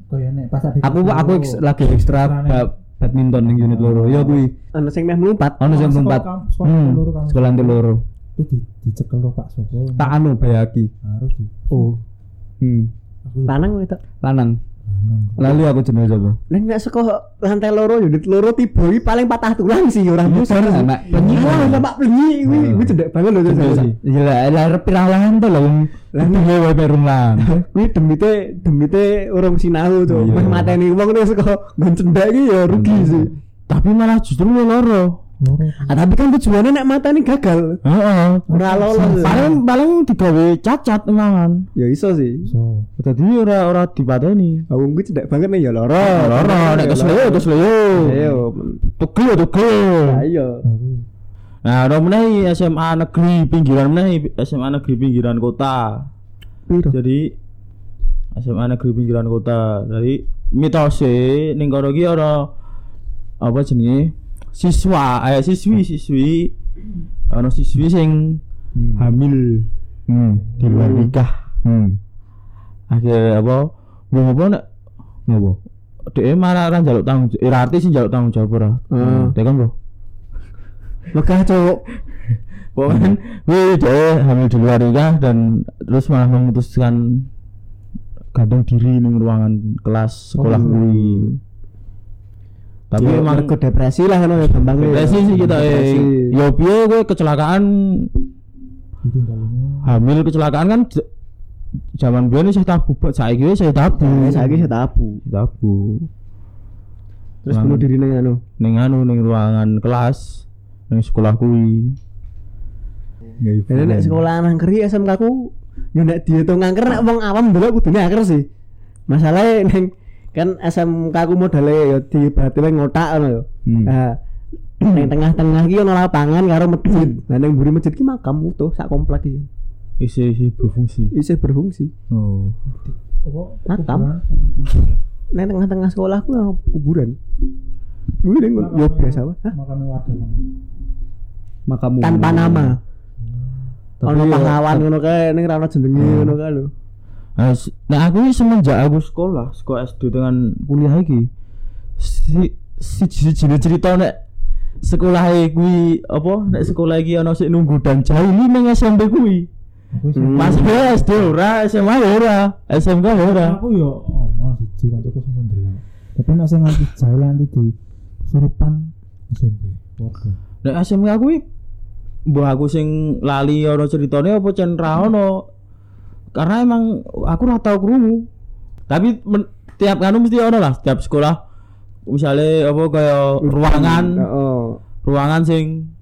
[SPEAKER 3] Kaya nek pas adik
[SPEAKER 4] Aku
[SPEAKER 3] kelas
[SPEAKER 4] aku
[SPEAKER 3] loro.
[SPEAKER 4] eks- lagi ekstra
[SPEAKER 3] Ekstrane.
[SPEAKER 4] ba- badminton ning unit loro. Ya kuwi.
[SPEAKER 2] ana sing meh mlumpat
[SPEAKER 4] Ono sing
[SPEAKER 3] Sekolah
[SPEAKER 4] tempat.
[SPEAKER 3] kamp- Sekolah loro kampus.
[SPEAKER 4] Hmm. Sekolah nanti loro.
[SPEAKER 3] Itu di dicekel lho Pak Sopo.
[SPEAKER 4] Tak anu bayaki.
[SPEAKER 3] harus di.
[SPEAKER 4] Oh. Hmm.
[SPEAKER 3] Aku nah,
[SPEAKER 2] lanang wedok
[SPEAKER 4] Lanang.
[SPEAKER 3] lanang.
[SPEAKER 4] Lalu aku jenenge sapa?
[SPEAKER 2] nek nek saka lantai loro unit loro tiba iki paling patah tulang sih ora
[SPEAKER 4] Besar
[SPEAKER 2] mlumpat
[SPEAKER 4] anak.
[SPEAKER 2] Penyi
[SPEAKER 1] Hmm.
[SPEAKER 2] lho Pak penyi kuwi kuwi cedek banget lho Cuk.
[SPEAKER 4] Iya lah, lah rep ralangan to lho. Lah piye wae perung lang.
[SPEAKER 2] Kuwi demite demite urung sinau
[SPEAKER 1] Oh,
[SPEAKER 2] tuh.
[SPEAKER 4] Iya.
[SPEAKER 2] Wis mateni wong nek saka nggon cendak iki ya rugi
[SPEAKER 1] Hmm.
[SPEAKER 2] sih.
[SPEAKER 1] tapi malah justru lu loro
[SPEAKER 3] Loro.
[SPEAKER 2] Ah, tapi kan tujuannya nek mateni gagal.
[SPEAKER 1] heeh
[SPEAKER 2] Ora lolos.
[SPEAKER 1] paling paling digawe cacat emangan
[SPEAKER 2] Ya iso sih.
[SPEAKER 3] So.
[SPEAKER 1] tadi ora ora dipateni
[SPEAKER 2] Ah, Wong kuwi cendak banget nek ya loro.
[SPEAKER 1] loro nek kesleo kesleo
[SPEAKER 2] Ayo.
[SPEAKER 1] Tegel tegel.
[SPEAKER 2] Ayo.
[SPEAKER 3] Aku
[SPEAKER 1] Nah, ada meneh SMA negeri pinggiran meneh SMA negeri pinggiran kota. Jadi SMA negeri pinggiran kota. Jadi mitose ning kono iki ana apa jenenge? Siswa, eh siswi siswi ana siswi sing
[SPEAKER 3] Nah,
[SPEAKER 1] hamil
[SPEAKER 4] Hmm.
[SPEAKER 1] di luar nikah.
[SPEAKER 4] Hmm.
[SPEAKER 1] Akhirnya apa? Wong apa nek
[SPEAKER 4] Ngopo?
[SPEAKER 1] dhek malah ora njaluk tanggung jawab, ora arti sing njaluk tanggung jawab ora.
[SPEAKER 2] Heeh.
[SPEAKER 1] Dhek kan, Bro.
[SPEAKER 2] Megah cuk.
[SPEAKER 1] Pokoknya wih dia hamil di luar nikah dan terus malah memutuskan gantung diri di ruangan kelas sekolah
[SPEAKER 3] Oh.
[SPEAKER 1] kuwi. Tapi
[SPEAKER 2] Ya,
[SPEAKER 1] emang
[SPEAKER 2] mergo depresi lah ngono ya gampangnya.
[SPEAKER 1] depresi sih kita eh
[SPEAKER 2] Depresi.
[SPEAKER 1] ya piye kowe kecelakaan
[SPEAKER 3] ditinggalin.
[SPEAKER 1] hamil kecelakaan kan j- zaman biyen saya tabu buat saiki wis saya tabu.
[SPEAKER 2] Nah, saiki saya tabu.
[SPEAKER 1] tabu.
[SPEAKER 2] Terus
[SPEAKER 1] Lang-
[SPEAKER 2] bunuh diri ning anu.
[SPEAKER 1] Ning anu ning ruangan kelas ning sekolah kuwi. Ya, iya.
[SPEAKER 2] Jadi nek sekolah angker ya SMK ku yo nek dihitung angker nek wong awam ndelok kudune angker sih. Masalahe neng kan SMK ku modale yo dibati wae ngotak ngono yo.
[SPEAKER 4] Hmm.
[SPEAKER 2] Nah, neng tengah-tengah ki ono lapangan karo masjid. Nah ning mburi masjid ki makam utuh sak komplek iki.
[SPEAKER 1] Isi isi berfungsi.
[SPEAKER 2] isih berfungsi
[SPEAKER 1] Oh.
[SPEAKER 3] Apa?
[SPEAKER 2] Makam.
[SPEAKER 3] Kuburan.
[SPEAKER 2] nek tengah-tengah sekolah aku ana kuburan gue dengan ya biasa wae. Hah?
[SPEAKER 3] Makamnya warga. Bang.
[SPEAKER 4] makamu
[SPEAKER 2] tanpa nama
[SPEAKER 4] Hmm. Tapi
[SPEAKER 2] ono
[SPEAKER 4] ya,
[SPEAKER 2] pahlawan ngono kae ning ra ono jenenge ngono kae lho
[SPEAKER 1] Nah, s- nah aku ini semenjak aku sekolah, sekolah SD dengan kuliah iki si si siji cerita nek sekolah e kuwi apa nek sekolah iki ana sik nunggu dan jauh ini ning SMP kuwi.
[SPEAKER 3] Aku sih.
[SPEAKER 1] Mas SD ora, SMA ya ora, SMK ya ora.
[SPEAKER 3] aku yo ono siji kancaku sing sendelok. Tapi nek sing nganti jauh nanti di kesurupan SMP. Warga.
[SPEAKER 1] Nek SMK kuwi mbah aku sing lali ana ceritane apa cen ra ono. Karena emang aku ora tau krungu. Tapi men- tiap anu mesti ono lah, tiap sekolah misalnya apa kaya ruangan
[SPEAKER 2] heeh
[SPEAKER 1] ruangan sing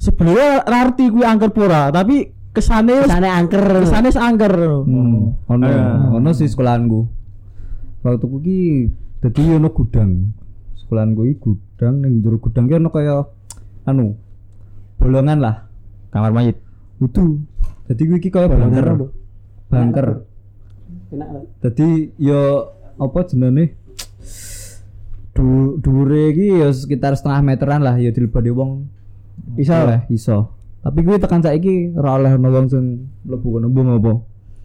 [SPEAKER 1] sebenarnya rarti kuwi angker pura tapi kesane
[SPEAKER 2] kesane angker
[SPEAKER 1] kesane angker
[SPEAKER 4] Hmm, ono
[SPEAKER 1] Ah.
[SPEAKER 4] ono sih sekolahanku. Waktu ku ki dadi ono gudang. Sekolahanku iki gudang ning jero gudang ki ono kaya anu bolongan lah.
[SPEAKER 1] kamar mayit
[SPEAKER 4] Udu. Dadi ku iki kaya
[SPEAKER 2] Bolongan apa?
[SPEAKER 4] bunker. Bunker.
[SPEAKER 2] enak lho.
[SPEAKER 4] Dadi yo apa jenenge? Du dure iki yo sekitar setengah meteran lah yo dilebani wong.
[SPEAKER 2] Iso?
[SPEAKER 4] Oleh, iso. Tapi kuwi tekan saiki ora oleh ono wong sing mlebu kono mbung apa.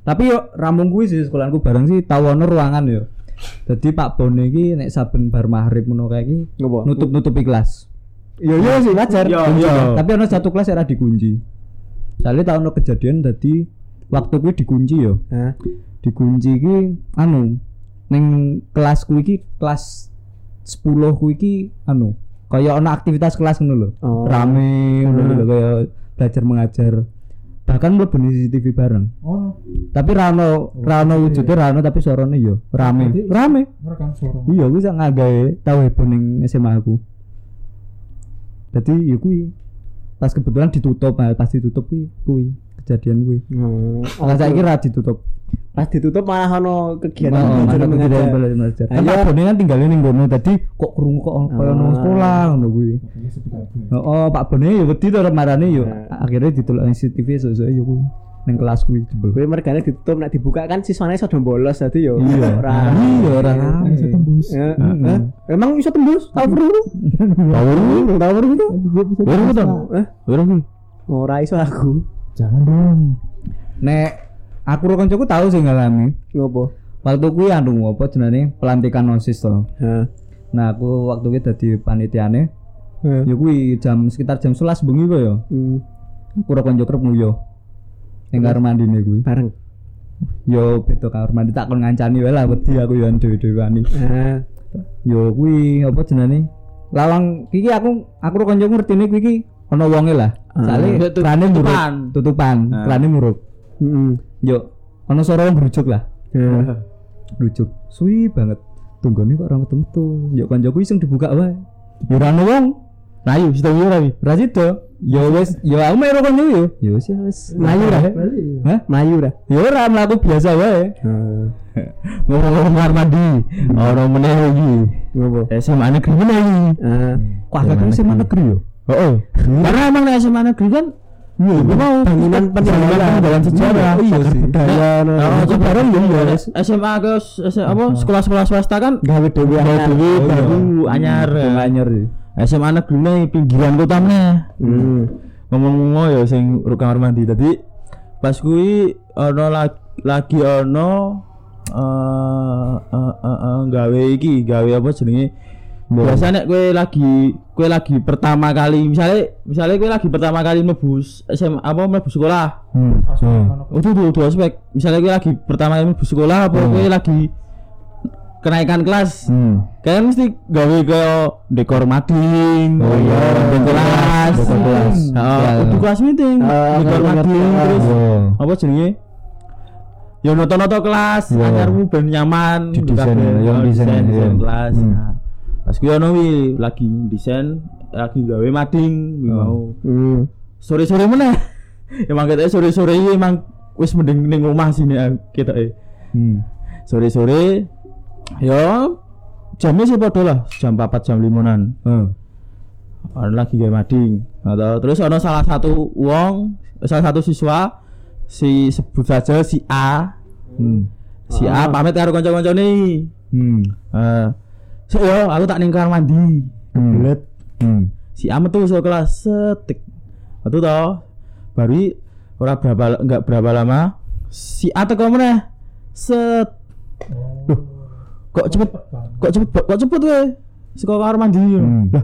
[SPEAKER 4] Tapi yo ramung kuwi sih sekolahanku bareng sih tau ono ruangan yo. Jadi Pak Bone iki nek saben bar maghrib ngono kae iki
[SPEAKER 2] ngopo
[SPEAKER 4] nutup-nutupi kelas.
[SPEAKER 2] yo yo Iya, sih wajar kan?
[SPEAKER 1] Yo, yo.
[SPEAKER 4] Iya, Tapi ono satu kelas era dikunci. Soalnya tau ono kejadian dadi waktu kuwi dikunci yo.
[SPEAKER 2] Hah?
[SPEAKER 4] dikunci iki anu ning kelas ku iki kelas 10 ku iki anu kaya ana aktivitas kelas ngono lho
[SPEAKER 2] Oh. Hmm.
[SPEAKER 4] rame ngono lho kaya belajar mengajar bahkan mlebu CCTV bareng
[SPEAKER 3] Ono
[SPEAKER 4] tapi rano rano wujudnya rano tapi suaranya yo rame
[SPEAKER 3] Berarti-
[SPEAKER 4] rame
[SPEAKER 3] merekam suara.
[SPEAKER 4] iya gue sak ngagawe tau heboh ning SMA aku jadi ya kuwi pas kebetulan ditutup nah, pas ditutup kuwi kuwi kejadian kuwi
[SPEAKER 2] Oh,
[SPEAKER 4] kalau saya kira ditutup
[SPEAKER 2] pas ditutup malah ono kegiatan
[SPEAKER 4] Oh,
[SPEAKER 2] belajar
[SPEAKER 4] mantap,
[SPEAKER 2] mengajar.
[SPEAKER 4] kegiatan belajar mengajar. Kan
[SPEAKER 2] Ayo.
[SPEAKER 4] Pak Bone kan tinggalnya ning kono tadi kok krungu kok kaya nang
[SPEAKER 2] Ah.
[SPEAKER 4] sekolah ngono kuwi.
[SPEAKER 3] Iya, sepi kabeh.
[SPEAKER 4] Heeh, Pak Bone ya wedi to marane yo.
[SPEAKER 2] Nah.
[SPEAKER 4] Akhirnya ditolak CCTV sesuk yo kuwi ning kelas kuwi jebol.
[SPEAKER 2] Gue mergane ditutup nek dibuka kan siswane iso do bolos dadi yo.
[SPEAKER 4] Iya.
[SPEAKER 2] Ora.
[SPEAKER 4] Iya ora
[SPEAKER 3] Kan iso
[SPEAKER 4] rame.
[SPEAKER 3] tembus.
[SPEAKER 2] Ya,
[SPEAKER 4] Mm.
[SPEAKER 2] eh, Emang iso tembus? Tahu perlu?
[SPEAKER 1] tahu
[SPEAKER 2] Tahu perlu itu?
[SPEAKER 3] Iya, bisa
[SPEAKER 1] Baru
[SPEAKER 3] tembus,
[SPEAKER 1] ketemu.
[SPEAKER 3] Pak.
[SPEAKER 2] Eh,
[SPEAKER 1] ora kuwi
[SPEAKER 2] ora iso aku.
[SPEAKER 3] Jangan dong.
[SPEAKER 4] Nek aku karo kancaku tau sing ngalami.
[SPEAKER 2] Ngopo?
[SPEAKER 4] Waktu kuwi anu apa jenenge pelantikan OSIS to.
[SPEAKER 2] Hah.
[SPEAKER 4] Nah, aku waktu kuwi dadi panitiane.
[SPEAKER 2] Hah.
[SPEAKER 4] Yo kuwi jam sekitar jam 11 bengi kok yo.
[SPEAKER 2] Hmm,
[SPEAKER 4] Aku karo kanca kerep nguyo. Ning kamar mandine kuwi.
[SPEAKER 2] Bareng.
[SPEAKER 4] Yo beda kamar mandi tak kon ngancani wae lah wedi aku yo dhewe-dhewani.
[SPEAKER 2] Hah.
[SPEAKER 4] Yo kuwi apa jenenge? Lawang iki aku aku karo kanca ngertine kuwi iki ana wonge lah. Sale
[SPEAKER 1] Ya, tut-
[SPEAKER 4] kerane murup,
[SPEAKER 1] tutupan.
[SPEAKER 4] tutupan,
[SPEAKER 1] Ah.
[SPEAKER 4] kerane murup.
[SPEAKER 2] Heeh.
[SPEAKER 4] Yo ana suara wong grujuk lah, grujuk. Suwi banget. Tunggone kok ora metu-metu. Yo kancaku iseng dibuka wae. Yo ora ana wong.
[SPEAKER 1] layu sita kuwi ora kuwi
[SPEAKER 4] Ra sida. Yo wis, yo aku meh karo kanca yo. Yo wis ya wis. Melayu lah. Hah?
[SPEAKER 2] Mayu dah.
[SPEAKER 4] Yo ora mlaku biasa wae.
[SPEAKER 1] ngomong-ngomong kamar mandi ora meneh iki
[SPEAKER 2] Ngopo?
[SPEAKER 1] SMA negeri meneh iki
[SPEAKER 2] Hah.
[SPEAKER 4] Wah, kakek sing mana negeri yo.
[SPEAKER 1] heeh karena emang nek SMA negeri kan
[SPEAKER 4] Yo,
[SPEAKER 1] gue mau
[SPEAKER 2] Iya, Bangunan
[SPEAKER 1] peninggalan
[SPEAKER 2] peninggalan
[SPEAKER 1] peninggalan sejarah
[SPEAKER 4] Iya sih.
[SPEAKER 1] Nek-
[SPEAKER 2] Budaya. nah,
[SPEAKER 1] Oh, aku bareng ya, ya. SMA ke s- s- apa sekolah-sekolah swasta kan
[SPEAKER 2] nah, Gawe dhewe
[SPEAKER 1] gawe
[SPEAKER 2] anyar.
[SPEAKER 1] dhewe
[SPEAKER 4] Oh, iya.
[SPEAKER 1] baru anyar. Eh,
[SPEAKER 4] anyar sih.
[SPEAKER 1] SMA negeri nih pinggiran kota meneh.
[SPEAKER 2] Hmm.
[SPEAKER 1] ngomong-ngomong ya sing urut kamar mandi tadi pas kui ono la- lagi ono eh eh, eh, eh, gawe iki gawe apa jenenge biasanya kue lagi kue lagi pertama kali misalnya misalnya kue lagi pertama kali mebus SMA apa mebus sekolah
[SPEAKER 3] Langsung ono ke-
[SPEAKER 1] itu dua dua aspek misalnya kue lagi pertama kali mebus sekolah apa kue lagi kenaikan kelas
[SPEAKER 4] Hmm.
[SPEAKER 1] kalian mesti gawe kaya dekor mading
[SPEAKER 4] Oh iya.
[SPEAKER 1] dekor kelas
[SPEAKER 4] Dekor kelas. Iya.
[SPEAKER 1] Heeh, kudu kelas meeting
[SPEAKER 2] Ah,
[SPEAKER 1] dekor
[SPEAKER 2] ngerti,
[SPEAKER 1] mading
[SPEAKER 2] ngerti.
[SPEAKER 1] terus
[SPEAKER 4] Wow.
[SPEAKER 1] apa jenenge ya noto-noto kelas
[SPEAKER 4] Iya.
[SPEAKER 1] anyarmu ben nyaman
[SPEAKER 4] Di
[SPEAKER 1] gitu
[SPEAKER 4] desain,
[SPEAKER 1] kabeh.
[SPEAKER 4] yang
[SPEAKER 1] Oh,
[SPEAKER 4] desain,
[SPEAKER 1] desain, desain
[SPEAKER 4] iya.
[SPEAKER 1] kelas
[SPEAKER 4] Hmm.
[SPEAKER 1] Nah, pas kuwi ono wi, lagi desain lagi gawe mading kuwi
[SPEAKER 4] Oh.
[SPEAKER 1] mau
[SPEAKER 2] Hmm.
[SPEAKER 1] sore-sore meneh emang ketoknya sore-sore iki emang wis mending ning omah sini eh, ketoke
[SPEAKER 4] Hmm.
[SPEAKER 1] sore-sore yo jamnya sih padha lah jam 4 jam 5an
[SPEAKER 4] Oh.
[SPEAKER 1] Orang lagi gawe mading atau terus ono salah satu wong salah satu eh, siswa si sebut saja si A
[SPEAKER 4] Hmm.
[SPEAKER 1] si A pamit karo kanca-kancane
[SPEAKER 4] Hmm.
[SPEAKER 1] eh "Sik yo aku tak ning kamar mandi kebelet
[SPEAKER 4] Hmm.
[SPEAKER 1] si A metu saka kelas setik metu to baru i, ora berapa enggak berapa lama si A teko meneh set Loh, kok cepet kok cepet kok cepet kowe saka kamar mandi
[SPEAKER 4] Hmm.
[SPEAKER 1] lah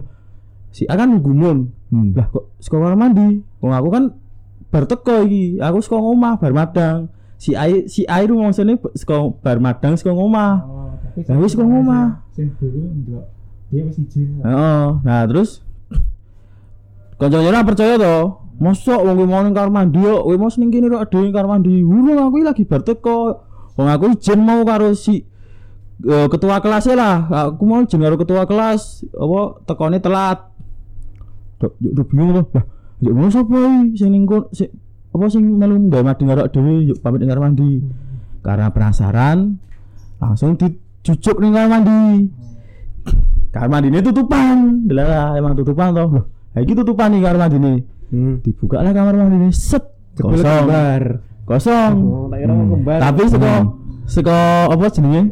[SPEAKER 1] si A kan gumun
[SPEAKER 4] Hmm.
[SPEAKER 1] lah kok saka kamar mandi wong aku kan bar teko iki aku saka omah bar madang si ai si ai rumangsane saka bar madang saka omah
[SPEAKER 3] Ya
[SPEAKER 1] Lah, wis kok ngomah.
[SPEAKER 3] Sing dulu ndelok dia wis izin.
[SPEAKER 1] heeh nah terus kanca-kanca ora percaya to mosok wong kuwi mau ning kamar mandi yo kowe mos ning kene kok dhewe ning kamar mandi urung aku iki lagi bar teko wong aku izin mau karo si eh, ketua kelas lah aku mau izin karo ketua kelas apa tekone telat Duh, yuk, duh, bingung tuh lah yuk mau sapa iki sing ning kon- sing- apa sing melu nggawe mandi karo dhewe yuk pamit ning kamar mandi karena penasaran langsung dijujuk ning kamar mandi kamar mandinya tutupan lah emang tutupan toh loh nah, iki tutupan nih kamar mandinya
[SPEAKER 2] Hmm.
[SPEAKER 1] dibuka lah kamar mandinya set
[SPEAKER 2] Kebelet
[SPEAKER 1] kosong
[SPEAKER 2] kembar.
[SPEAKER 1] kosong
[SPEAKER 2] Oh, tak kira mau kembar.
[SPEAKER 1] tapi seko seko apa jenenge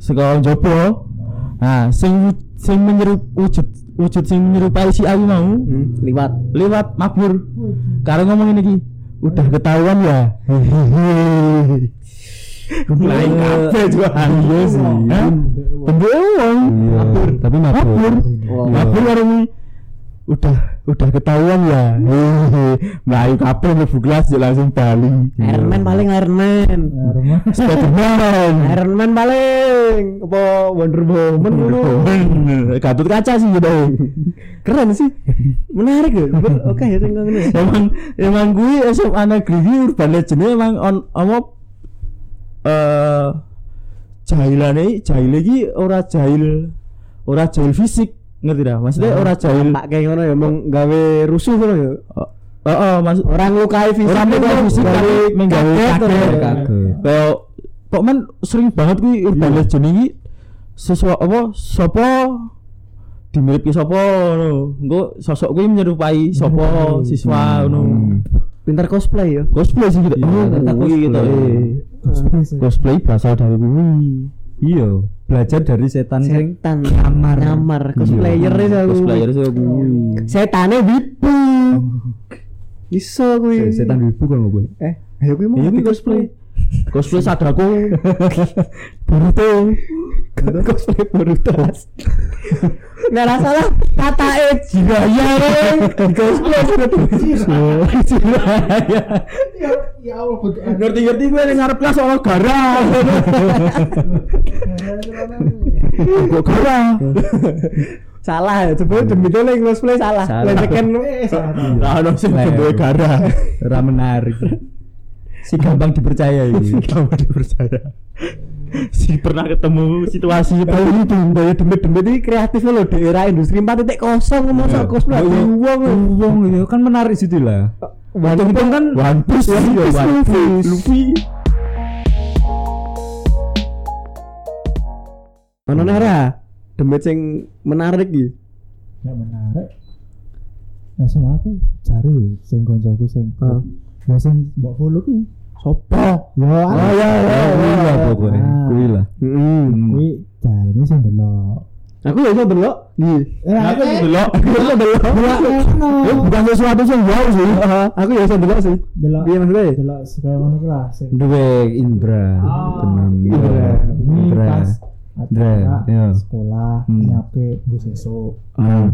[SPEAKER 1] seko jopo nah sing sing menyerup wujud wujud sing menyerupai si aku mau
[SPEAKER 2] Hmm, liwat.
[SPEAKER 1] lewat mabur karena ngomong ini ki udah ketahuan ya hehehe lain kafe juga iya sih bentuk uang mabur
[SPEAKER 4] Tapi
[SPEAKER 1] mabur
[SPEAKER 2] Wong.
[SPEAKER 1] mabur orang ini udah udah ketahuan ya hehehe melayu kafe mlebu gelas ya langsung bali
[SPEAKER 2] Iron Man Iya. paling Iron Man.
[SPEAKER 3] Nah, rumah *laughs*
[SPEAKER 1] Spiderman
[SPEAKER 2] Iron Man paling apa Wonder Woman ngono.
[SPEAKER 1] Gatut kaca sih gitu
[SPEAKER 2] Keren sih. Menarik loh. Ber- *laughs* Oke ya sing ngono.
[SPEAKER 1] emang emang gue SMA negeri ini urban legend emang on apa eh jahilane jahil lagi ora jahil ora jahil fisik ngerti dah maksudnya ora jahil
[SPEAKER 2] Tak kayak ngono ya mong gawe rusuh ngono ya.
[SPEAKER 1] oh oh maksud
[SPEAKER 2] Orang lukai fisik.
[SPEAKER 1] ora
[SPEAKER 2] ngono,
[SPEAKER 1] menggawe fisik tapi
[SPEAKER 2] gawe
[SPEAKER 1] menggawe
[SPEAKER 2] kaget Iya. ngono.
[SPEAKER 1] kaget
[SPEAKER 4] Kaget.
[SPEAKER 1] kayak kok men sering banget gue urban legend ini sesuatu apa sopo dimiripki sopo ngono engko sosok gue menyerupai sopo
[SPEAKER 2] Iya.
[SPEAKER 1] siswa ngono
[SPEAKER 4] Hmm.
[SPEAKER 2] Hmm. Pintar cosplay ya.
[SPEAKER 1] cosplay sih gitu oh
[SPEAKER 4] ternyata
[SPEAKER 1] kuwi gitu
[SPEAKER 4] cosplay.
[SPEAKER 2] Iya.
[SPEAKER 1] eh.
[SPEAKER 3] cosplay sih.
[SPEAKER 1] cosplay berasal dari kuwi
[SPEAKER 4] Iya. Belajar dari setan sing
[SPEAKER 2] Setan nyamar. Nyamar cosplayer itu aku.
[SPEAKER 1] cosplayer sih kuwi
[SPEAKER 2] Setane wibu. Iso kuwi.
[SPEAKER 4] setan ibu kan ngopo.
[SPEAKER 2] Eh, ayo kuwi mau
[SPEAKER 1] Iya, kuwi
[SPEAKER 2] di cosplay.
[SPEAKER 1] cosplay sadako Boruto
[SPEAKER 2] cosplay Boruto. Nggak ada salah kata eh
[SPEAKER 1] jiraya
[SPEAKER 2] *laughs*
[SPEAKER 1] cosplay jiraya
[SPEAKER 3] Ya Allah, bodoh.
[SPEAKER 1] ngerti-ngerti gue yang ngarep kelas orang gara kok gara
[SPEAKER 2] salah ya coba demi itu yang cosplay salah
[SPEAKER 4] Salah.
[SPEAKER 2] lejekan eh salah
[SPEAKER 1] nah ada sih gue gara
[SPEAKER 4] *laughs* Ora menarik. Si gampang dipercaya iki.
[SPEAKER 1] kamu dipercaya si pernah ketemu situasi
[SPEAKER 2] Kalau ini demi demi demi ini kreatif loh daerah *laughs* industri empat titik kosong ngomong soal cosplay
[SPEAKER 4] Iya.
[SPEAKER 2] uang
[SPEAKER 4] Wong ya kan menarik situ lah.
[SPEAKER 2] walaupun kan
[SPEAKER 1] One Piece One
[SPEAKER 2] Piece, One Piece.
[SPEAKER 1] Luffy
[SPEAKER 2] mana nara demi yang menarik gitu
[SPEAKER 3] Nggak menarik. Nah, sama aku cari sing koncoku sing.
[SPEAKER 2] Heeh.
[SPEAKER 3] Ya sing mbok follow kuwi.
[SPEAKER 2] sopo
[SPEAKER 3] Ya,
[SPEAKER 2] oh ya ya
[SPEAKER 4] Kuwi lah Ah,
[SPEAKER 2] ya.
[SPEAKER 4] iya, pokoknya. Kuwi lah. Hmm.
[SPEAKER 2] Mm.
[SPEAKER 3] kuwi jarene sing delok.
[SPEAKER 2] aku ya iso delok Iya.
[SPEAKER 3] Eh,
[SPEAKER 1] Nah, aku
[SPEAKER 3] eh,
[SPEAKER 1] delok
[SPEAKER 2] aku ya iso delok
[SPEAKER 3] ngono.
[SPEAKER 2] Eh, bukan sesuatu yang wow sih aku ya iso delok sih
[SPEAKER 3] delok.
[SPEAKER 2] Iya, maksudnya ya?
[SPEAKER 3] delok sekaya ngono kuwi lah sing.
[SPEAKER 4] Iya, Duwe Indra. Tenang.
[SPEAKER 2] Indra.
[SPEAKER 3] Ini
[SPEAKER 4] Indra.
[SPEAKER 3] Iya. pas
[SPEAKER 4] Dre,
[SPEAKER 3] acara
[SPEAKER 4] iya.
[SPEAKER 3] sekolah
[SPEAKER 4] Hmm.
[SPEAKER 3] nyape gue sesuk.
[SPEAKER 4] Ah.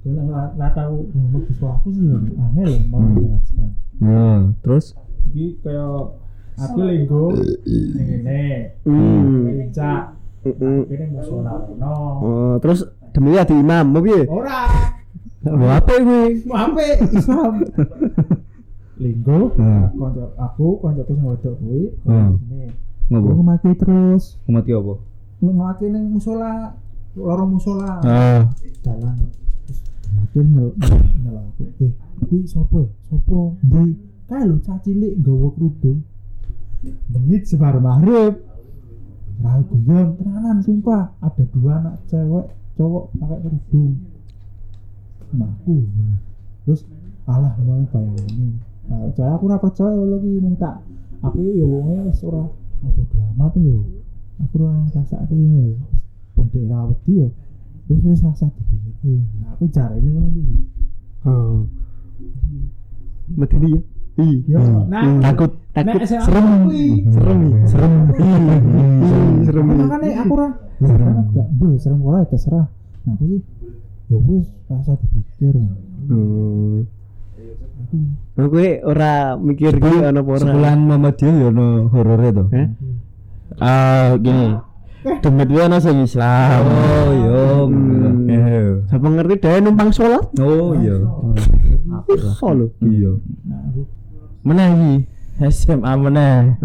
[SPEAKER 3] Gue nggak nggak tahu ngomong di sekolah aku sih aneh loh mau menjelaskan.
[SPEAKER 4] Ya, terus
[SPEAKER 3] Jadi kayak aku linggo ini
[SPEAKER 2] Hmm.
[SPEAKER 3] cak
[SPEAKER 2] Mm-mm.
[SPEAKER 3] ini musola no.
[SPEAKER 2] Oh, terus demi ya di imam apa piye?
[SPEAKER 3] Ora
[SPEAKER 4] Wah, apa kuwi?
[SPEAKER 3] mape Islam. Linggo
[SPEAKER 4] Hmm.
[SPEAKER 3] konco aku konco aku sing wedok kuwi.
[SPEAKER 4] Hmm.
[SPEAKER 3] Ini
[SPEAKER 4] Ngopo?
[SPEAKER 3] aku mati terus
[SPEAKER 4] Umat ki apa?
[SPEAKER 3] ngomati neng musola lorong musola.
[SPEAKER 1] ah
[SPEAKER 3] dalan makin nyel nyel aku eh kuwi sopo ya? sopo di kae lho cah cilik nggawa kerudung mengit sebar maghrib Rahu guyon tenanan sumpah ada dua anak cewek cowok pakai nah. kerudung nah aku terus alah mulai bayangannya Nah, soalnya aku ora percaya lho kuwi mung tak aku ya wonge wis ora apa amat lho. Aku ora ngrasakne lho. Bentuk ra wedi yo. Wis wis rasa dipiye. Nah, aku jarene ngono kuwi.
[SPEAKER 2] Oh. Medeni ya.
[SPEAKER 3] Yo,
[SPEAKER 2] Iya.
[SPEAKER 3] nah,
[SPEAKER 1] Takut.
[SPEAKER 3] nek
[SPEAKER 2] Takut
[SPEAKER 3] SMA
[SPEAKER 2] serem.
[SPEAKER 3] kuwi.
[SPEAKER 2] Serem, ya, serem. Ih, Serem. ya.
[SPEAKER 3] Makane aku ora
[SPEAKER 2] Serem.
[SPEAKER 3] enggak boleh serem ora ya terserah. Nah, aku sih ya wis rasa dipikir.
[SPEAKER 2] Oh. Aku kuwi ora mikir kuwi ana apa ora.
[SPEAKER 4] Sebulan Muhammadiyah ya ono horore to.
[SPEAKER 2] Heh?
[SPEAKER 1] Ah, gini. Demit gue ono sing Islam.
[SPEAKER 4] Oh iya.
[SPEAKER 2] Hmm.
[SPEAKER 1] Iya.
[SPEAKER 2] Siapa ngerti dia numpang sholat?
[SPEAKER 4] Oh iya.
[SPEAKER 2] Iso lho.
[SPEAKER 4] Iya.
[SPEAKER 3] Nah, aku
[SPEAKER 1] Meneh iki. SMA meneh,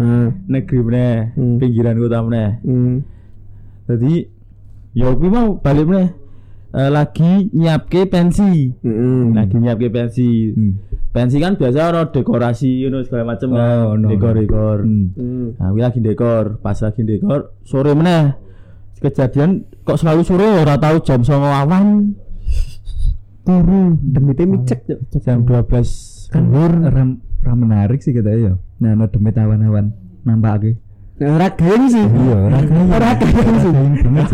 [SPEAKER 1] negeri meneh,
[SPEAKER 2] Hmm.
[SPEAKER 1] pinggiran kota meneh.
[SPEAKER 2] Hmm.
[SPEAKER 1] Jadi ya kuwi mau balik meneh. Eh, lagi nyiapke pensi.
[SPEAKER 2] Hmm.
[SPEAKER 1] Lagi nyiapke pensi. Pensi kan biasa ono dekorasi ngono segala macem
[SPEAKER 4] Oh,
[SPEAKER 1] kan.
[SPEAKER 4] ono.
[SPEAKER 1] Dekor-dekor.
[SPEAKER 2] Hmm.
[SPEAKER 1] Nah, kuwi lagi dekor, pas lagi dekor sore meneh. Kejadian kok selalu sore ya, ora tahu jam 09.00 awan. Turu
[SPEAKER 2] Demite micek yo.
[SPEAKER 1] jam 12
[SPEAKER 4] Kan ram ram menarik sih katanya ya. Nah, ono demit awan-awan nampake.
[SPEAKER 2] Nah, Ora gaeng sih.
[SPEAKER 4] Iya, ora gaeng.
[SPEAKER 2] Ora gaeng sih.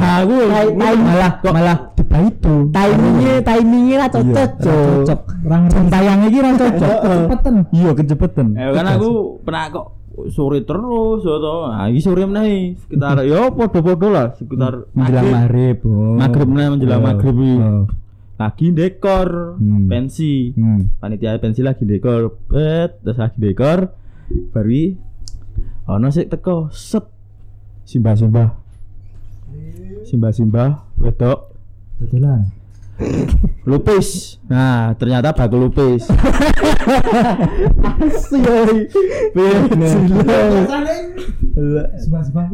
[SPEAKER 1] Aku
[SPEAKER 4] Malah Iya. malah dibaitu.
[SPEAKER 2] Timingnya, timingnya lah cocok. Cocok.
[SPEAKER 3] orang
[SPEAKER 4] Jam tayang iki *laughs* ora cocok.
[SPEAKER 3] Cepetan.
[SPEAKER 4] Iya, kecepetan.
[SPEAKER 1] Eh, kan aku pernah kok sore terus atau nah, iki sore meneh sekitar ya podo-podo lah sekitar
[SPEAKER 4] menjelang maghrib. oh.
[SPEAKER 1] Maghrib, nah, menjelang
[SPEAKER 4] Oh,
[SPEAKER 1] maghrib ini.
[SPEAKER 4] oh.
[SPEAKER 1] lagi dekor
[SPEAKER 4] Hmm.
[SPEAKER 1] pensi
[SPEAKER 4] Hmm.
[SPEAKER 1] panitia pensi lagi dekor bet terus lagi dekor bari ono sik teko set simbah-simbah simbah-simbah wedok
[SPEAKER 3] Dodolan.
[SPEAKER 1] lupis nah ternyata bakul lupis
[SPEAKER 2] Sioi.
[SPEAKER 3] Rasane sebab-sebab.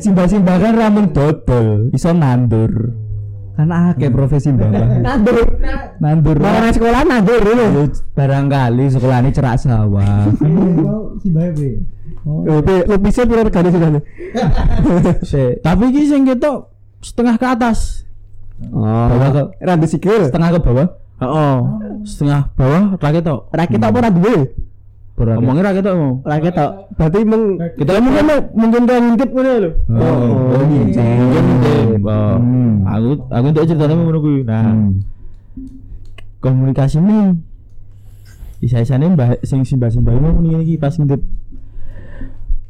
[SPEAKER 4] Simbah-simbah kan ramen dodol, iso nandur.
[SPEAKER 1] Kan
[SPEAKER 4] Karena akeh profesi mbah-mbah.
[SPEAKER 2] Nandur.
[SPEAKER 4] nandur.
[SPEAKER 2] Orang sekolah nandur lho.
[SPEAKER 1] Iya,
[SPEAKER 4] Ya, barangkali sekolah ini cerak sawah.
[SPEAKER 1] *laughs*
[SPEAKER 3] Kau si bae be. Oh,
[SPEAKER 2] Tapi lupisnya pira regane sih Dani? *laughs*
[SPEAKER 4] Se-
[SPEAKER 1] tapi iki sing ketok setengah ke atas
[SPEAKER 2] Oh. Randu sikil.
[SPEAKER 4] setengah ke bawah.
[SPEAKER 1] oh, setengah bawah ra ketok
[SPEAKER 2] Rakit apa ora duwe?
[SPEAKER 4] Berapa?
[SPEAKER 1] omongnya ra ketok mau
[SPEAKER 2] Ora ketok. Berarti mung
[SPEAKER 1] kita mungkin mungkin kan ngintip ngono lho
[SPEAKER 4] Oh, oh, oh,
[SPEAKER 1] Mungkin ngintip. Oh.
[SPEAKER 4] Hmm.
[SPEAKER 1] aku aku entuk ceritanya ngono kuwi nah
[SPEAKER 4] Hmm.
[SPEAKER 1] komunikasi nih isa-isane mbah sing simbah-simbah mau ngene iki pas ngintip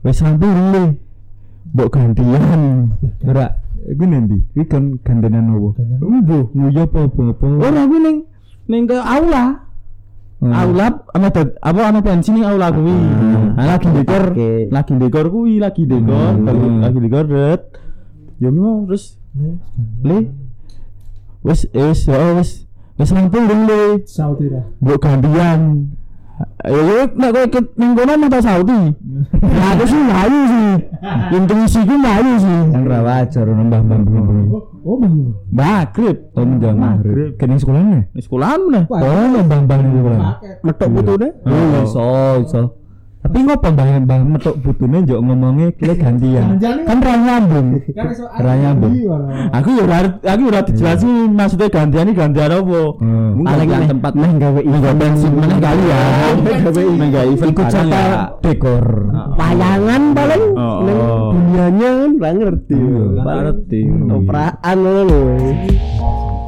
[SPEAKER 1] wis rampung lho mbok gantian
[SPEAKER 4] Ora, iku nanti. Iki kan gandenan opo?
[SPEAKER 3] Gandenan.
[SPEAKER 4] Mbuh, nguyu apa apa?
[SPEAKER 1] ora kuwi ning ning ke aula
[SPEAKER 4] Hmm.
[SPEAKER 1] aula ana dad- apa ana pensi ning aula kuwi
[SPEAKER 4] Ah.
[SPEAKER 1] Nah, lagi dekor
[SPEAKER 4] Oke.
[SPEAKER 1] lagi dekor kuwi lagi dekor
[SPEAKER 4] Hmm.
[SPEAKER 1] baru- lagi dekor red yo mau terus
[SPEAKER 3] le.
[SPEAKER 1] le wis wis oh, wis wis rampung dong le
[SPEAKER 3] Saudi lah.
[SPEAKER 1] Mbok gantian. Ayo nek kowe ikut ning kono mata sauti. Nah, Aku sih mlayu sih. Intuisi ku mlayu sih.
[SPEAKER 4] Kan ra wajar ono mbah-mbah bengi.
[SPEAKER 3] Oh, oh bang.
[SPEAKER 1] Maghrib.
[SPEAKER 4] Oh, menjelang maghrib. Kene sekolahnya?
[SPEAKER 1] Ning sekolahan meneh.
[SPEAKER 3] Wah.
[SPEAKER 4] Oh, ono mbah-mbah ning sekolah.
[SPEAKER 2] metok putune.
[SPEAKER 4] Oh, iso, iso. Tapi ngopo mbah mbah metok butune njok ngomongnya kira gantian.
[SPEAKER 3] Jangan-jangan.
[SPEAKER 4] Kan ra nyambung.
[SPEAKER 3] Kan iso
[SPEAKER 4] Ra nyambung.
[SPEAKER 1] Aku ya ora aku ora dijelasin maksudnya gantian iki gantian apa.
[SPEAKER 4] Hmm.
[SPEAKER 1] Mungkin
[SPEAKER 4] Paling
[SPEAKER 1] gantian
[SPEAKER 4] nih,
[SPEAKER 1] tempat meh gawe event pensi meneh kali ya. Meh gawe event
[SPEAKER 4] Ikut
[SPEAKER 1] bareng
[SPEAKER 4] serta
[SPEAKER 1] ya. Ah.
[SPEAKER 4] dekor.
[SPEAKER 2] Wayangan paling
[SPEAKER 1] Oh,
[SPEAKER 2] Neng
[SPEAKER 1] oh.
[SPEAKER 2] dunianya kan ora ngerti.
[SPEAKER 4] Iya. Oh,
[SPEAKER 1] Ora ngerti.
[SPEAKER 2] Operaan ngono lho.